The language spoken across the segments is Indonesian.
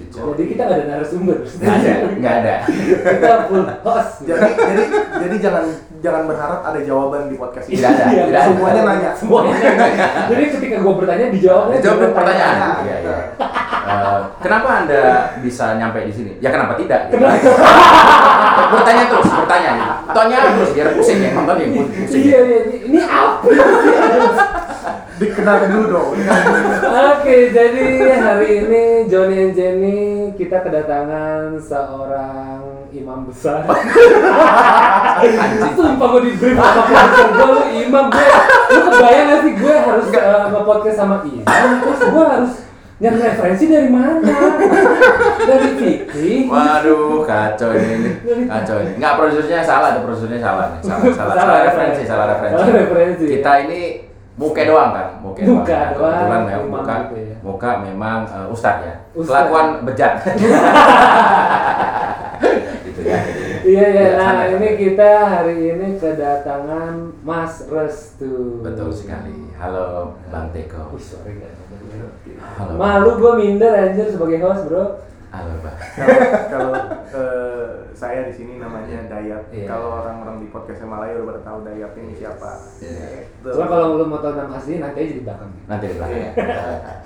jadi kita nggak ada narasumber Nggak ada, nggak ada. kita full host jadi jadi jadi jangan jangan berharap ada jawaban di podcast ini. Tidak ada, Iya, tidak ada. semuanya nanya. semuanya nanya. jadi ketika gue bertanya dijawabnya Jawab dengan pertanyaan. tanya. Iya, iya. Eh, kenapa anda bisa nyampe di sini? Ya kenapa tidak? gitu. bertanya terus, bertanya. Tanya terus biar pusing yang nonton yang pusing. iya iya ini- ini apa Dikenalin dulu dong. Oke, jadi hari ini Johnny and Jenny kita kedatangan seorang imam besar. Sumpah gue di brief sama produser gue, lu imam gue. Lu kebayang gak sih gue harus uh, nge-podcast sama imam, terus gue harus nyari referensi dari mana? Dari Iya, fikih. Waduh, kacau ini, kacau ini. Enggak, produsernya salah, ada produsernya salah nih. Salah, salah, salah referensi, salah referensi. Salah referensi, ya. Kita ini muka doang kan, muka doang. Muka Nah, doang, Kebetulan memang imam muka, gitu ya. muka memang eh, ustadz ya. Ustadz. Kelakuan bejat. gitu ya. Iya iya. Iya, Nah santai. ini kita hari ini kedatangan Mas Restu. Betul sekali. Halo Bang Teko. Wih, sorry nggak ada. Halo. Bang. Malu gue minder anjir sebagai host bro Halo Bang. Kalau- Kalau eh, saya di sini namanya Dayat. Iya. Kalau orang-orang di podcast Malaya udah pada tahu Dayat ini siapa. Iya. Gitu. Cuma kalau lu mau tau nama asli nanti aja di belakang Nanti di belakang ya.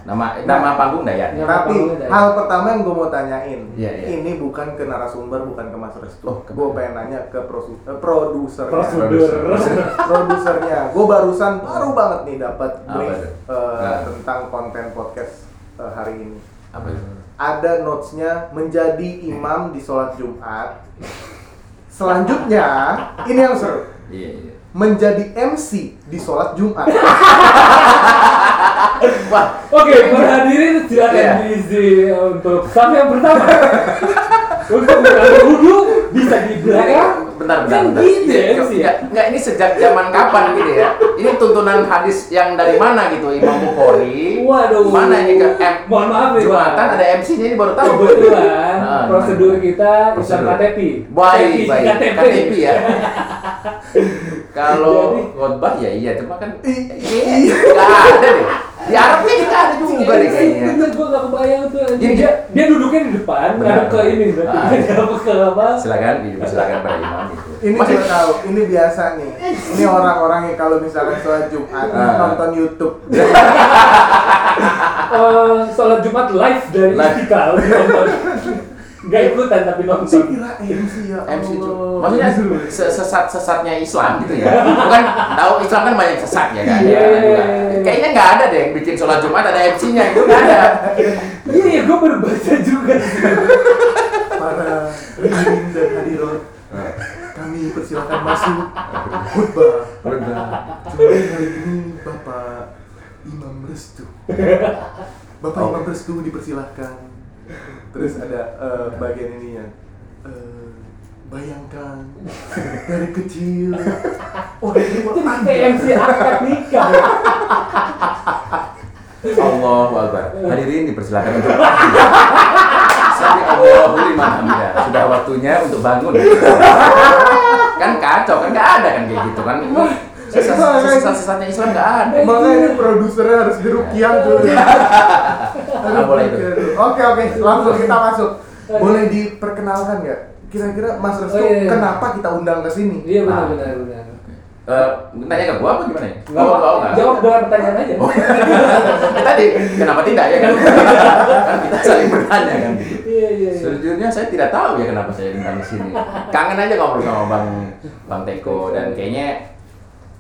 Nama nama panggung ya? Dayak. Iya. Tapi hal pertama yang gue mau tanyain, Iya, iya. ini bukan ke narasumber, bukan ke Mas Restu. Oh, ke- gue pengen nanya ke prosu- eh, Ya, produsernya. Prosedur produsernya. Gue barusan baru banget nih dapat Apa brief tuh? eh, Nah. tentang konten podcast eh, hari ini. Apa itu? Ada notesnya menjadi imam di sholat Jumat. Selanjutnya, ini yang seru. Iya, iya. Menjadi MC di sholat Jumat. Wah, Oke para hadirin silakan Iya. diisi untuk staff yang pertama Untuk berlalu wudhu bisa di belakang bentar, bentar. Kan bentar. gitu ya MC ya Enggak, enggak, ini sejak zaman kapan gitu ya? Ini tuntunan hadis yang dari mana gitu? Imam Bukhari. Waduh Mana ini ke M? Mohon maaf nih Jumatan ada MC-nya ini baru tahu. Kebetulan Ah, prosedur gimana? kita Islam Prosedur. KTP Baik, KTP, baik. KTP. KTP ya. Kalau Jadi- khotbah ya iya, cuma kan I- iya, enggak ada deh. Di Arab nih kita ada juga deh kayaknya. Bener gue gak kebayang tuh anjing. Jadi- dia, dia duduknya di depan Benar. Ngadep ke ini berarti Ah. Ngadep ke apa Silakan, silakan pada imam gitu. Ini Masih- gue tahu, ini biasa nih. Ini orang-orang yang kalau misalkan sholat Jumat Ah. Iya. nonton YouTube. Eh, sholat Jumat live dari Live. Istiqlal nonton. Gak ikutan tapi nonton. Saya kira MC ya. MC itu. Allah. Iya. Maksudnya se- sesat-sesatnya Islam gitu ya. Bukan tahu Islam kan banyak sesat ya kan. Iya. Kayaknya nggak ada deh yang bikin sholat Jumat ada MC-nya itu nggak ada. Iya ya gue baru baca juga. para hadirin dan hadirat kami persilakan masuk khutbah Jumat kali ini Bapak Imam Restu Bapak Oh. Imam Restu dipersilahkan terus ada eh, bagian ininya Eh, bayangkan dari kecil Oh, orang tua Jadi kayak Anda MC akad nikah. Allahu Akbar. Hadirin dipersilakan untuk Sami Allahu liman hamidah. Sudah waktunya untuk bangun. kan kacau kan nggak ada kan kayak gitu kan. Sesat- Sesat-sesatnya Islam nggak ada. makanya produsernya harus dirukiah tuh Nggak Ah, boleh itu. Oke oke, langsung kita masuk. Boleh diperkenalkan nggak? Kira-kira Mas Restu, Oh, iya, iya. kenapa kita undang ke sini? Iya benar benar benar. Eh, nanya ke gua apa gimana ya? Nggak Gua mau apa- nggak? Jawab Oh. dengan pertanyaan aja. Iya, Ya tadi kenapa tidak ya kan Kan kita saling bertanya kan gitu. Iya iya. iya. sejujurnya saya tidak tahu ya kenapa saya diundang di sini kangen aja ngobrol sama bang bang Teko dan kayaknya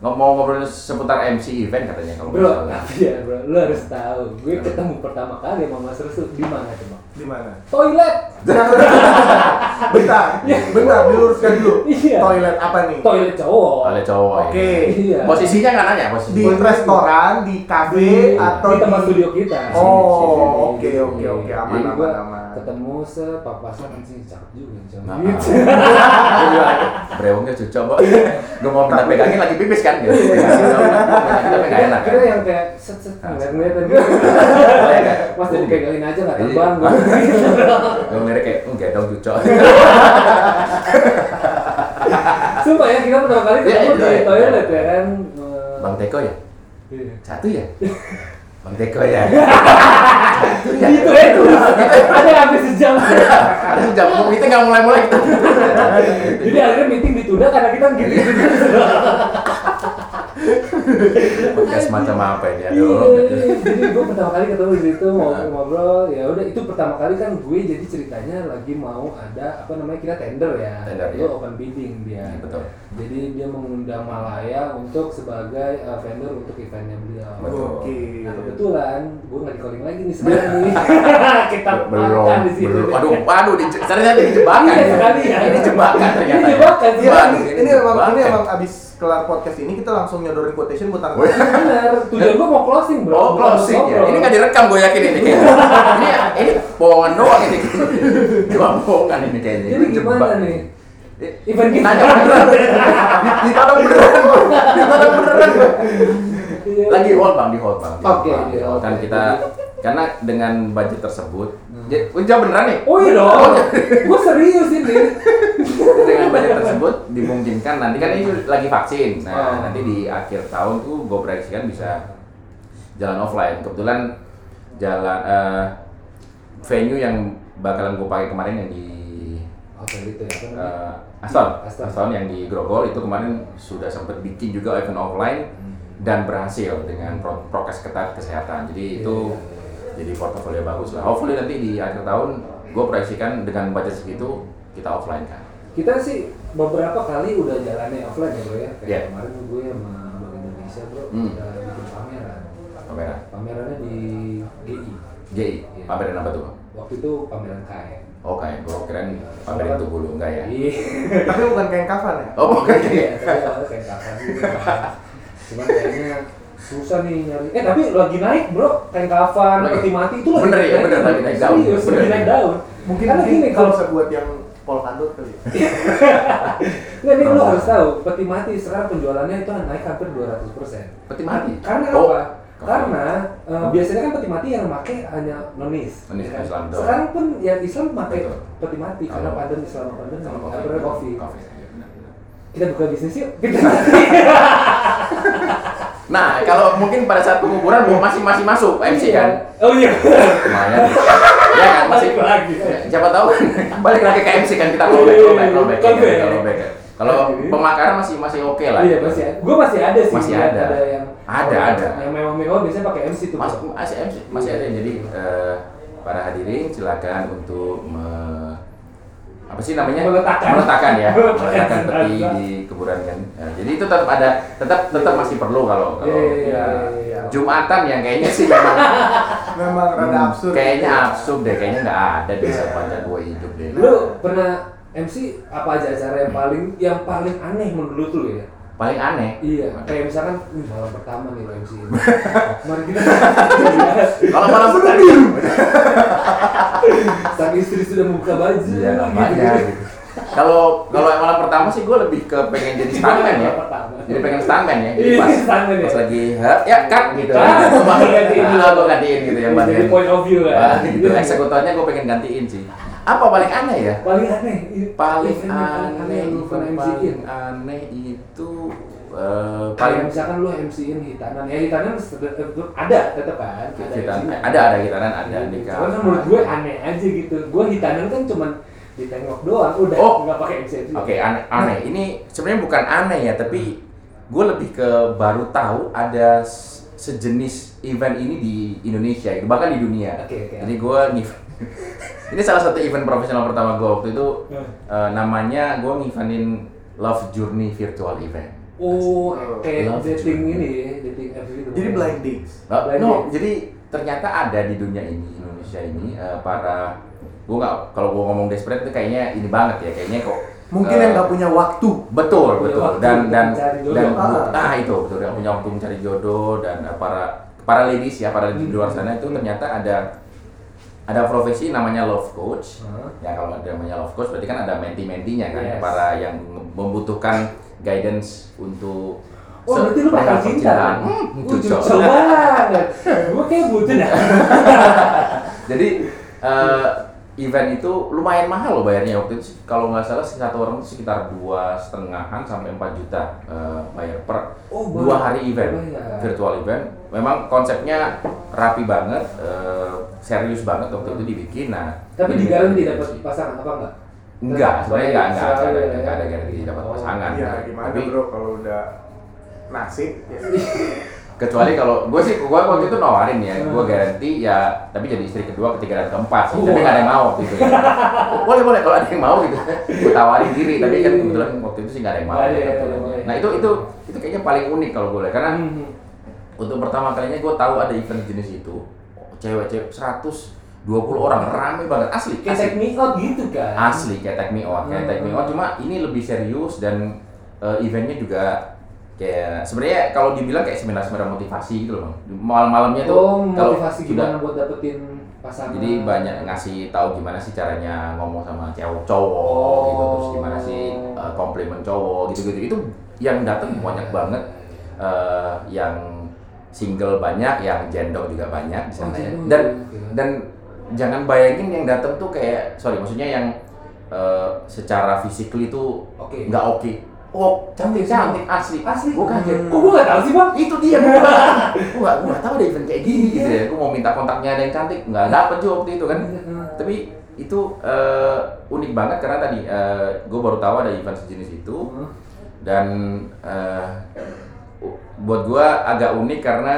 nggak mau ngobrol seputar MC event katanya kalau nggak Bro, salah. tapi ya bro, lu harus tahu. Gue ketemu pertama kali sama Mas Resul di mana coba? Di mana? Toilet. bentar, bentar, diluruskan dulu. Iya. Toilet apa nih? Toilet cowok. oleh cowok ya. Oke. Iya. posisinya nggak nanya Di posisi restoran, di kafe, Di- atau Iya, di tempat studio kita. Oh, oke Sini, sini. oke oke, aman Jadi aman gua aman. ketemu sepapasan anjing cakep juga anjing. Nah, Gitu. Brewongnya ya, cucok kok. Gue mau minta pegangin lagi pipis kan gitu. Tapi nggak enak kan. Ah, Kira yang kayak set set ngeliat-ngeliatan gitu. Boleh nggak? Mas jadi pegangin aja nggak Iya. terbang. Gue ngelirik kayak, enggak dong cucok. Sumpah ya kita pertama kali Iya, ketemu iya, di iya. toilet ya kan. Bang Teko ya? Iya. Satu ya? Bang Teko ya. Gitu ya terus. Ada hampir sejam. Ada sejam meeting nggak mulai-mulai gitu. Jadi akhirnya meeting ditunda karena kita gitu. Iya. Podcast macam apa ini? Iya, Aduh. jadi gue pertama kali ketemu di situ mau Nah. ngobrol ya udah itu pertama kali kan gue jadi ceritanya lagi mau ada apa namanya kita tender ya Tender, itu iya. open bidding dia Iya, betul. jadi dia mengundang Malaya untuk sebagai uh, vendor untuk eventnya beliau Betul. Oke. Nah, kebetulan gue nggak di calling lagi nih sekarang nih Iya. kita belum makan di situ ya. belum waduh waduh di, ternyata ini jebakan Iya, sekali ya. ini jebakan ternyata ya. Ini jebakan, Iya, Bang, ini, ini emang ini emang abis kelar podcast ini kita langsung nyodorin quotation buat tanggal. benar tujuan gue mau closing bro Oh bukan closing ya. ngobrol. Ini nggak direkam gue yakin ini. kayaknya. ini ini bohongan doang ini. Cuma bohongan ini kayaknya. Jadi Ini gimana jebak. nih? Eh, Event kita. Nanya beneran. Di- Ditodong beneran. Bu. Ditodong beneran. Bu. Iya. Lagi hold bang di hold bang. di hold, Oke, Bang. iya, Hold. Kan oke. kita karena dengan budget tersebut, Hmm. jadi oh, jawab beneran nih. Oh iya dong, gue serius ini. dengan budget tersebut dimungkinkan nanti kan ini lagi vaksin nah Oh. nanti di akhir tahun tuh gue prediksikan bisa jalan offline kebetulan jalan eh, venue yang bakalan gue pakai kemarin yang di Oke gitu ya. apa namanya? eh, Aston Aston. Aston yang di Grogol itu kemarin sudah sempat bikin juga event offline dan berhasil dengan pro- prokes ketat Iya, kesehatan jadi itu jadi portofolio bagus lah hopefully nanti di akhir tahun gue proyeksikan dengan budget segitu kita offline kan Kita sih beberapa kali udah jalannya offline ya bro ya. Kayak Iya. kemarin gue sama Bank Indonesia bro Hmm. udah bikin pameran. kamera Pamerannya di GI. JI, Iya. pamerin apa tuh bang? Waktu itu pameran kain. Oh kayak gue keren pamerin tubuh lu, enggak ya? Iya. Tapi bukan kain kafan ya. Oh bukan ya? Iya, tapi awalnya kain kafan gitu. Cuman kayaknya susah nih nyari. Eh tapi lagi naik bro, kain kafan, Lagi- peti mati itu lagi Bener ya, bener, lagi naik daun. Serius, lagi Bener. naik daun. Mungkin Karena mungkin gini, kalau kalau bisa buat yang pol kandut kali. ya. Nggak, ini lo harus tahu, peti mati sekarang penjualannya itu naik hampir 200%. Peti mati? Karena Oh, apa? kafein. Karena eh, biasanya kan peti mati yang pakai hanya nonis. ya Nonis, kan? Islam doang. Sekarang pun yang Islam pakai Betul. peti mati karena Kalau- pandemi Islam pandemi Sama sama kopi. kopi. kopi. Kopi, iya, benar-benar. Kita buka bisnis yuk. Peti mati. Nah kalau mungkin pada saat penguburan gua masih masih masuk MC kan? Oh iya. Lumayan. ya kan masih. Balik lagi. Ya, siapa tahu balik lagi ke MC kan Iya, kita callback, callback, callback, Callback. ya, callback. Kalau pemakaran masih masih oke lah. Iya masih. Gue masih ada sih. Masih ya, ada. yang Ada, ada. Yang mewah-mewah biasanya pakai MC tuh. Mas- Bro. masih MC, masih ada yang jadi eh, para hadirin silakan untuk me- apa sih namanya Meletakkan. ya Meletakkan meletakkan peti jenazah. di kuburan kan Ya, jadi itu tetap ada tetap tetap masih perlu kalau kalau Iya, iya, ya, iya, iya. jumatan yang kayaknya sih memang Memang rada hmm, absurd. kayaknya absurd deh kayaknya nggak ada di sepanjang gue hidup deh Lu pernah MC apa aja acara yang paling yang paling aneh menurut lu ya? paling aneh Iya, kayak misalkan ini malam pertama nih lo MC ini. Mari kita kalau malam pertama sang istri sudah membuka baju gitu. Iya, namanya gitu. Kalau kalau yang malam pertama sih gue lebih ke pengen jadi stuntman ya. Pertama. Jadi pengen stuntman ya. Jadi Iya, pas, stuntman ya. pas lagi "Hah, ya cut gitu. Cut. Gua gantiin dulu gua gantiin gitu yang Jadi bagian. point of view Wah, kan. gitu. Eksekutornya gue pengen gantiin sih. Apa paling aneh ya? Paling aneh. Paling event yang paling aneh, yang lu event pernah MC-in. paling aneh itu eh, Paling paling misalkan lu MC-in hitanan, ya hitanan seder- eh, ada tetep kan. hitanan. MC-nya. Ada ada hitanan ada di Cuman kan menurut gue aneh aja gitu. Gue hitanan kan cuman ditengok doang, udah Oh. nggak pakai MC. Oke, aneh, aneh. Ini sebenarnya bukan aneh ya, tapi gue lebih ke baru tahu ada s- sejenis event ini di Indonesia, gitu, bahkan di dunia. Oke, oke. Jadi gue ngiv- ini salah satu event profesional pertama gue waktu itu Hmm. eh, namanya gue ngivanin Love Journey Virtual Event. Oh, kayak Love dating you. ini ya, dating apps gitu. Jadi blind dates. Oh, Lagi. no, jadi ternyata ada di dunia ini Indonesia ini eh, para gue nggak kalau gue ngomong desperate itu kayaknya ini banget ya kayaknya kok Mungkin eh, yang nggak punya waktu. betul Punya betul waktu dan untuk dan mencari jodoh. dan Ah. nah itu betul yang punya waktu mencari jodoh dan eh, para para ladies ya para ladies di luar Hmm. sana itu ternyata ada ada profesi namanya love coach Hah? ya kalau ada namanya love coach berarti kan ada menti mentinya kan Ah. Yes. para yang membutuhkan guidance untuk Oh, se- berarti lu bakal perjalanan. cinta kan? Hmm, Gue cocok. cocok banget. Gue kayak butuh dah. Jadi eh, event itu lumayan mahal loh bayarnya waktu itu sih. kalau nggak salah sih satu orang itu sekitar dua setengahan sampai 4 juta eh, bayar per Oh, iya. dua bayar. hari event Bayar. virtual event memang konsepnya rapi banget eh, serius banget waktu itu dibikin nah Tapi di ini- dalam tidak dapat pasangan apa enggak? enggak sebenarnya enggak enggak enggak ada Selalu ya. enggak ada garansi dapat Oh. pasangan Nah, Iya, gimana kan, Tapi- bro kalau udah nasib ya. kecuali kalau gue sih gue waktu itu nawarin ya Hmm. gue garanti ya tapi jadi istri kedua ketiga dan keempat Oh. sih tapi nggak ada yang mau waktu itu ya. boleh boleh kalau ada yang mau gitu gue tawarin diri tapi kan kebetulan waktu itu sih nggak ada yang mau Iya. Nggak ada ya, kebetulan. nggak ada. nah itu itu itu kayaknya paling unik kalau gue lihat. karena Hmm. untuk pertama kalinya gue tahu ada event jenis itu cewek-cewek 120 orang rame banget asli Kayak asli take me out gitu kan? asli kayak Take Me Out, Hmm. kayak Take Me Out cuma ini lebih serius dan eh, eventnya juga kayak sebenarnya kalau dibilang kayak seminar-seminar motivasi gitu loh. Bang. Malam-malamnya tuh Oh, kalau motivasi sudah- gimana buat dapetin pasangan? jadi banyak ngasih tahu gimana sih caranya ngomong sama cewek cowok gitu terus gimana sih eh, komplimen cowok gitu-gitu itu yang datang banyak banget eh, yang single banyak yang jendong juga banyak di Oh, sana ya. jendong dan juga. dan jangan bayangin yang datang tuh kayak sorry maksudnya yang eh, secara physically tuh Oke. nggak oke oh cantik cantik asli Asli? Hmm. gue kaget Oh, Kok gue nggak tahu sih bang? itu dia gue gua gua nggak tahu ada event kayak gini gitu ya gua mau minta kontaknya ada yang cantik nggak dapet juga waktu itu kan tapi itu eh, unik banget karena tadi eh, gua baru tahu ada event sejenis itu dan eh, buat gua agak unik karena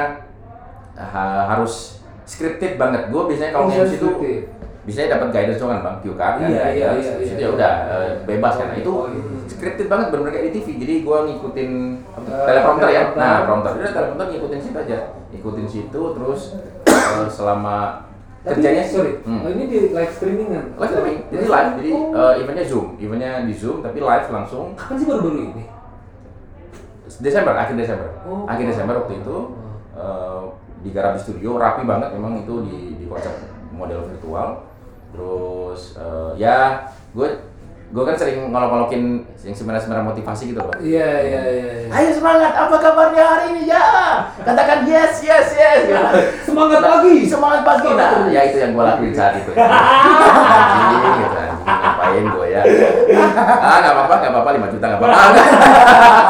ha- harus scripted banget gua biasanya kalau Oh, MC itu scripted. biasanya dapat guidance dong kan bang Q kan Iya, ada iya, guidance, iya, terus iya. itu ya udah eh, bebas kan Nah, itu Oh, iya. scripted banget bener-bener kayak di TV jadi gua ngikutin apa, Eh, teleprompter ya teleprompter. nah prompter udah teleprompter ngikutin situ aja ngikutin situ terus eh, selama Tapi kerjanya sorry, Hmm. oh, ini di live streaming kan? oh. live streaming jadi live jadi eh, eventnya zoom eventnya di zoom tapi live langsung Kapan sih baru-baru ini? Desember akhir Desember Oh. akhir Desember waktu itu eh, di Garabi Studio rapi banget memang itu di di konsep model virtual terus eh, ya gue gue kan sering ngolok-ngolokin yang seminar-seminar motivasi gitu pak Iya, iya, iya. iya. Ayo semangat, apa kabarnya hari ini ya? Katakan yes, yes, yes. Semangat pagi! semangat pagi. Nah, ya itu yang gue lakuin saat itu. Anjing, gitu, anjing, ngapain gue ya? Ah, nggak apa-apa, nggak apa-apa, 5 juta nggak apa-apa.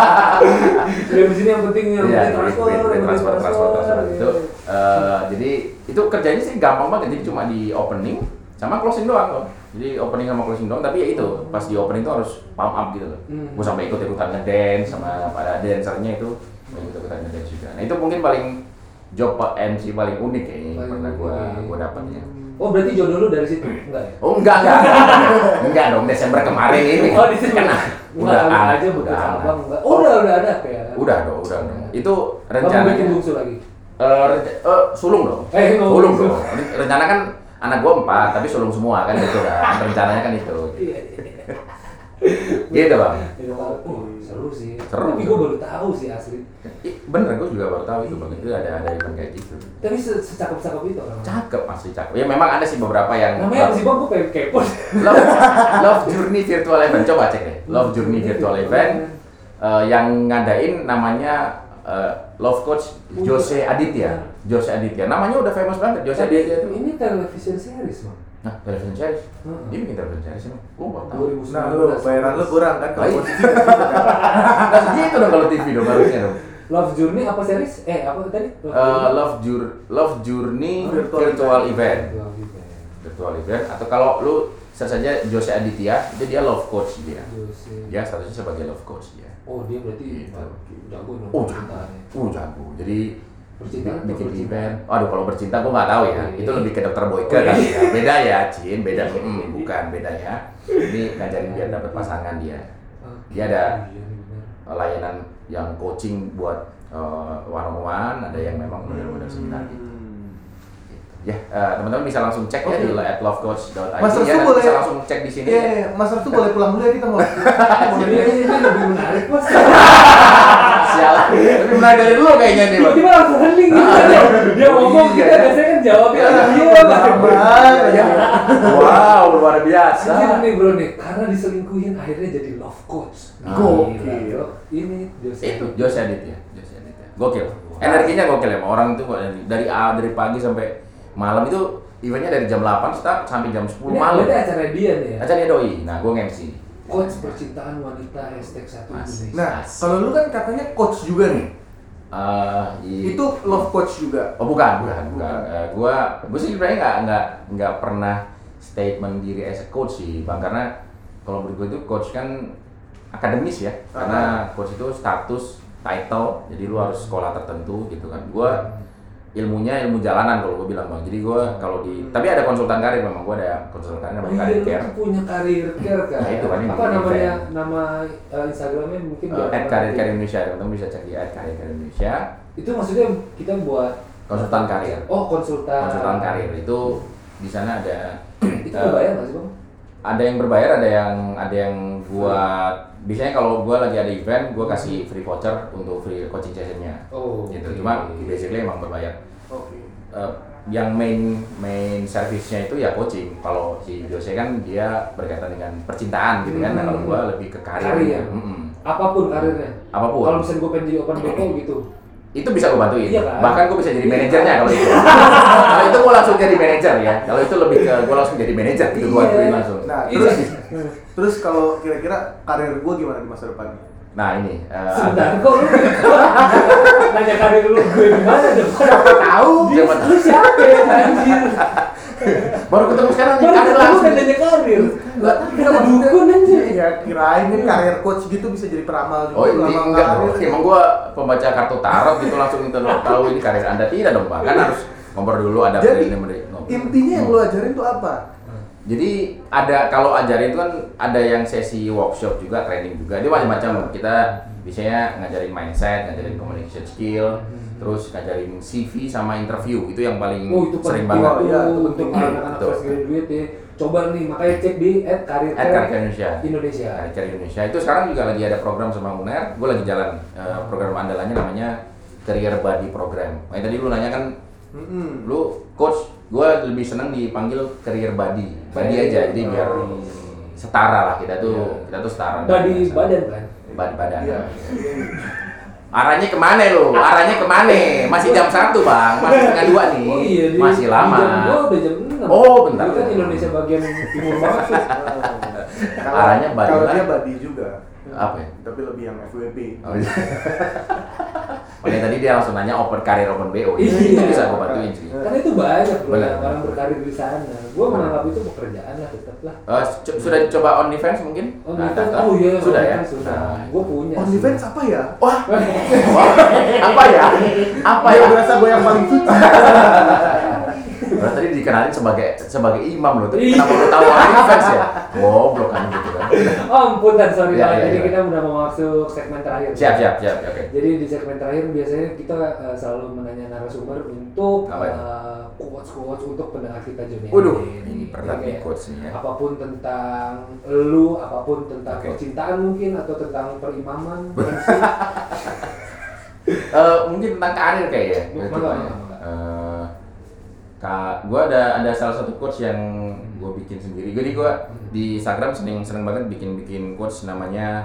Dari sini yang penting yang Iya, penting transfer, transfer, yang penting transfer, transfer, transfer itu. iya. eh, jadi itu kerjanya sih gampang banget, jadi cuma di opening sama closing doang loh. Jadi opening sama closing doang, tapi ya itu pas di opening tuh harus pump up gitu loh. Hmm. Gue sampai ikut ikutan ngedance sama para dancernya itu ikut ikutan ngedance juga. Nah itu mungkin paling job pa- MC paling unik kayaknya yang Paling pernah gue unik. gue dapetnya. Oh berarti jodoh lu dari situ? Enggak ya? Oh enggak enggak enggak, enggak dong Desember kemarin ini. Oh di sini Kena. Udah Udah alat, aja butuh udah alat. cabang. enggak? Oh udah udah ada ya. Udah ya. dong, udah dong. Itu Kamu bikin rencananya. bungsu lagi. Eh, renca- eh, sulung dong. Eh, oh, sulung sulung. dong. Re- Rencana kan anak gua empat, tapi sulung semua kan gitu kan. Rencananya kan itu. Iya. iya. Gitu bang. Iya, tahu. Oh, seru sih. Seru. Tapi gue baru tahu sih asli. Ih, Bener, gua juga baru tahu itu bang. Itu ada ada event kayak gitu. Tapi se- secakep-cakep itu orang. Cakep masih cakep. Ya memang ada sih beberapa yang Namanya apa sih bang? Gue pengen kepo. Love, Love Journey Virtual Event. Coba cek deh. Love Journey Virtual Event eh, yang ngadain namanya eh, Love Coach Jose Aditya. Jose Aditya. Namanya udah famous banget Jose Tapi Aditya itu. Ini television series bang. Nah, television series. Dia bikin television series emang. Gua baru tahu. 2019. Nah, lu bayaran lu kurang kan Baik. kalau posisi kayak gitu kan. Nah, segitu dong kalau TV dong harusnya dong. Love Journey apa series? Eh apa tadi? Eh, Love Jour- Love Journey Virtual Virtual Event. Love Event. Virtual Event atau kalau lu search aja Jose Aditya, itu dia Love Coach dia. Jose. Dia statusnya sebagai Love Coach dia. Oh dia berarti Gitu. jago dong. Oh jago, percintaannya. oh jago. Jadi Percintaan atau bikin percinta? event. Aduh kalau bercinta gua nggak tahu Oh, ya. iya. Itu lebih ke dokter Boyke kan. ya. Beda ya, Cin. Beda. Mm, bukan beda ya. Ini ngajarin biar dapat pasangan dia. Dia ada Iya, benar. layanan yang coaching buat one on one, ada yang memang model-model seminar gitu. Hmm. Ya, eh, teman-teman bisa langsung cek ya di at lovecoach.id Mas ya, Restu nanti boleh- bisa langsung cek di sini. ya. Iya, iya, Mas Artu boleh pulang dulu ya kita mau. Jadi ini ini iya, lebih menarik mas. Iya, Sialan. Tapi mulai dari dulu kayaknya nih, Bang. Tiba-tiba langsung hening gitu kan ya. Dia ngomong Iya. kita biasanya kan jawabnya Iya. iya mas. Sabar, ya. Wow, luar biasa. Anjir Iya nih bro nih, karena diselingkuhin akhirnya jadi love coach. Ah. Gokil. Gokil. bro. Ini Jose. itu Jose Aditya Jose Aditya gokil energinya gokil ya orang itu kok dari dari A- dari pagi sampai malam itu eventnya dari jam 8 start sampai jam 10 Ini malam. ini acara dia nih ya. Acaranya doi. Nah, gue nge-MC. Coach percintaan wanita hashtag satu Asik. Indonesia. Nah, kalau lu kan katanya coach juga nih. Eh, i- Itu love coach juga. Oh bukan, bukan, bukan. Bukan. Eh, gua, gua sih sebenarnya nggak nggak nggak pernah statement diri as a coach sih, bang. Karena kalau menurut gua itu coach kan akademis ya. Ah. Karena coach itu status, title, jadi lu harus sekolah tertentu gitu kan. Gua ilmunya ilmu jalanan kalau gua bilang bang. Jadi gua kalau di, tapi ada konsultan karir memang. Gua ada konsultan karir Hmm. Oh namanya iya, karir lu care. tuh punya karir care kan? Nah, itu kan yang Apa bikin namanya, event. nama eh, Instagramnya mungkin Eh, nggak At pernah karir nanti. karir Indonesia, teman-teman bisa cek di at karir karir Indonesia. Itu maksudnya kita buat Konsultan karir, Oh konsultan. konsultan karir itu di sana ada Itu eh, kebayang nggak sih bang? ada yang berbayar ada yang ada yang gua biasanya kalau gua lagi ada event gua kasih free voucher untuk free coaching sessionnya Hmm. Oh. gitu oke. cuma basically emang berbayar Oke. Eh, yang main main service-nya itu ya coaching kalau si Jose kan dia berkaitan dengan percintaan gitu kan nah, kalau gua lebih ke karir Hmm. Karir. ya? Mm-mm. Apapun karirnya. Apapun. Kalau misalnya gue pengen jadi open BO gitu. itu bisa gue bantuin Iya kan? bahkan gue bisa jadi manajernya kalau itu kalau itu gue langsung jadi manajer ya kalau itu lebih ke gue langsung jadi manajer gitu gue Iya. bantuin langsung Nah, Iya. terus terus kalau kira-kira karir gua gimana di masa depan? nah ini eh, Sebentar kok lu nanya karir lu gue gimana dong? Siapa tahu? Dia Siapa tahu? lu siapa ya anjir? Baru ketemu sekarang nih, Baru karir ketemu kan langsung. dan nanya karir. Lah, Kata dukun anjir. Ya kirain kan karir coach gitu bisa jadi peramal juga. Oh ini peramal enggak karir. dong. Emang gua pembaca kartu tarot gitu langsung itu loh, tahu ini karir anda tidak dong pak. Kan harus ngobrol dulu ada Jadi, preliminary ngobrol. Intinya yang lu ajarin tuh apa? Jadi ada kalau ajarin itu kan ada yang sesi workshop juga, training juga. Dia macam-macam. Kita biasanya ngajarin mindset, ngajarin communication skill, terus ngajarin CV sama interview. Itu yang paling Oh itu sering penting banget. banget Iya, itu itu untuk penting. anak-anak Betul. fresh graduate ya. Coba nih makanya cek di at karir At Karir Indonesia. Indonesia. Hari Cari Indonesia itu sekarang juga lagi ada program sama UNER, gue lagi jalan Eh, program andalannya namanya Career Buddy Program. Makanya tadi lu nanya kan, Mm-mm. lu coach, gue lebih seneng dipanggil Career Buddy, Buddy aja, jadi biar Oh. setara lah kita tuh, kita tuh setara. Body badan kan. Bad badan. Iya. Arahnya kemana lu? Arahnya kemana? Masih jam satu bang, masih setengah dua nih, Oh iya di, masih lama. Di jam dua udah jam enam. Oh, bentar. Itu kan Indonesia bagian timur banget tuh. Kalau- Arahnya body Kalau lah. dia body juga, Apa? ya? tapi lebih yang FWB. Oh, iya. Makanya tadi dia langsung nanya open karir open BO. Iya, Iya. itu bisa gue bantuin sih. Karena Kan itu banyak loh Benar. yang orang berkarir di sana. Gue menganggap itu pekerjaan lah tetap lah. Eh, co- sudah coba OnlyFans mungkin? iya. Oh, Nah, itu, tak- oh iya, sudah ya. Sudah. Nah. Gue punya. On sih. defense apa ya? Wah, wah, apa ya? Apa ya? Iya, Gua berasa gue yang paling suci. Padahal tadi dikenalin sebagai sebagai imam loh. Tapi Iya. kenapa lu tahu OnlyFans ya? Goblok kan gitu kan. Oh, ampunan sorry Iya, banget. iya, Jadi iya. kita udah mau masuk segmen terakhir. Siap, siap, siap. Oke. Jadi di segmen terakhir biasanya kita eh, selalu menanya narasumber untuk Apa itu? eh, quotes-quotes untuk pendengar kita Joni. Waduh, Andin. ini berat nih Kayak quotes nih ya. Apapun tentang lu, apapun tentang Oke. percintaan mungkin atau tentang perimaman. Eh, mungkin tentang karir kayaknya. Bukan, Coba bukan, ya. bukan. Eh, Kak, gue ada ada salah satu quotes yang gue bikin sendiri. Jadi gue Hmm. di Instagram seneng seneng banget bikin bikin quotes namanya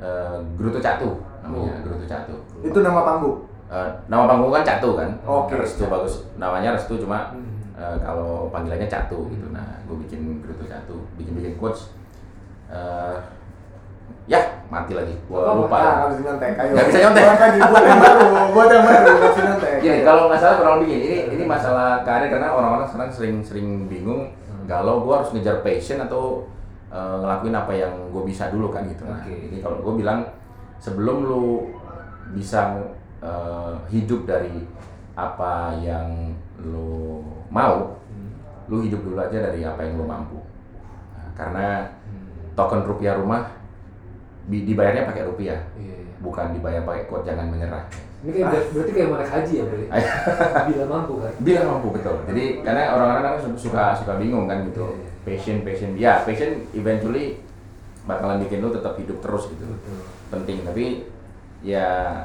eh, Gerutu Catu. Namanya Oh. Gerutu Catu. Itu nama panggung. Eh, nama panggung kan Catu kan? Oke. Restu bagus. Namanya Restu cuma Hmm. eh, kalau panggilannya Catu gitu. Nah, gue bikin Gerutu Catu, bikin bikin quotes. Eh, ya mati lagi. Gue Apa-apa. lupa. Ah, nggak bisa nyontek. Ayo. Nggak bisa nyontek. Iya. Buat lagi, buat yang baru, buat yang baru, nggak bisa nyontek. Gini, kalau nggak salah kurang lebih gini, ini ini masalah karir karena orang-orang sekarang sering-sering bingung galau gue harus ngejar passion atau eh, ngelakuin apa yang gue bisa dulu kan gitu. Nah, Oke. jadi kalau gue bilang sebelum lu bisa eh, hidup dari apa yang lu mau, lu hidup dulu aja dari apa yang lu mampu. Nah, karena token rupiah rumah bi- dibayarnya pakai rupiah, Iya, iya. bukan dibayar pakai kuat jangan menyerah. Ini kayak ber- berarti kayak mau naik haji ya, Bre? Bila mampu kan. Bila mampu betul. Jadi karena orang-orang kan suka suka bingung kan gitu. Iya, Passion passion ya passion eventually bakalan bikin lu tetap hidup terus gitu. Penting tapi ya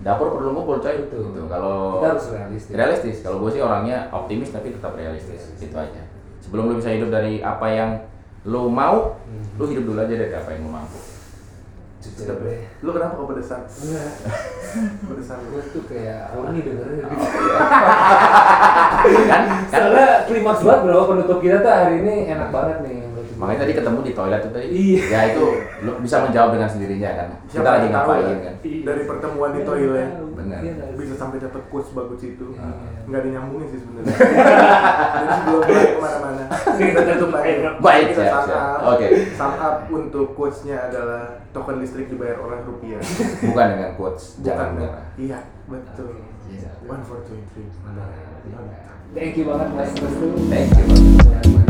dapur perlu ngumpul coy Betul. gitu. Kalau Kita harus realistis. realistis. Kalau gue sih orangnya optimis tapi tetap realistis. Iya. Itu aja. Sebelum lu bisa hidup dari apa yang lu mau, Hmm. lu hidup dulu aja dari apa yang lu mampu. Cucu Bre. Lu kenapa kepedesan? Enggak, Kepedesan lu. gue tuh kayak horny dengernya gitu. kan? kan? Soalnya klimaks banget bro penutup kita tuh hari ini enak banget nih. Makanya tadi ketemu di toilet tuh tadi. Iya. Ya itu lu bisa menjawab dengan sendirinya kan. Kita lagi tahu ngapain ya, kan. Dari pertemuan di toilet Benar. Iya nggak sih? bisa sampai dapat quotes bagus itu Iya. nggak ada nyambungin sih sebenarnya jadi sebelum mulai kemana-mana kita tutup aja Iya. Baik, kita siap, sum siap. up. Oke. Sum up untuk quotesnya adalah token listrik dibayar oleh rupiah Bukan dengan quotes, bukan jangan menyerah. iya betul Iya. one four two three Thank you banget mas Restu. Thank you.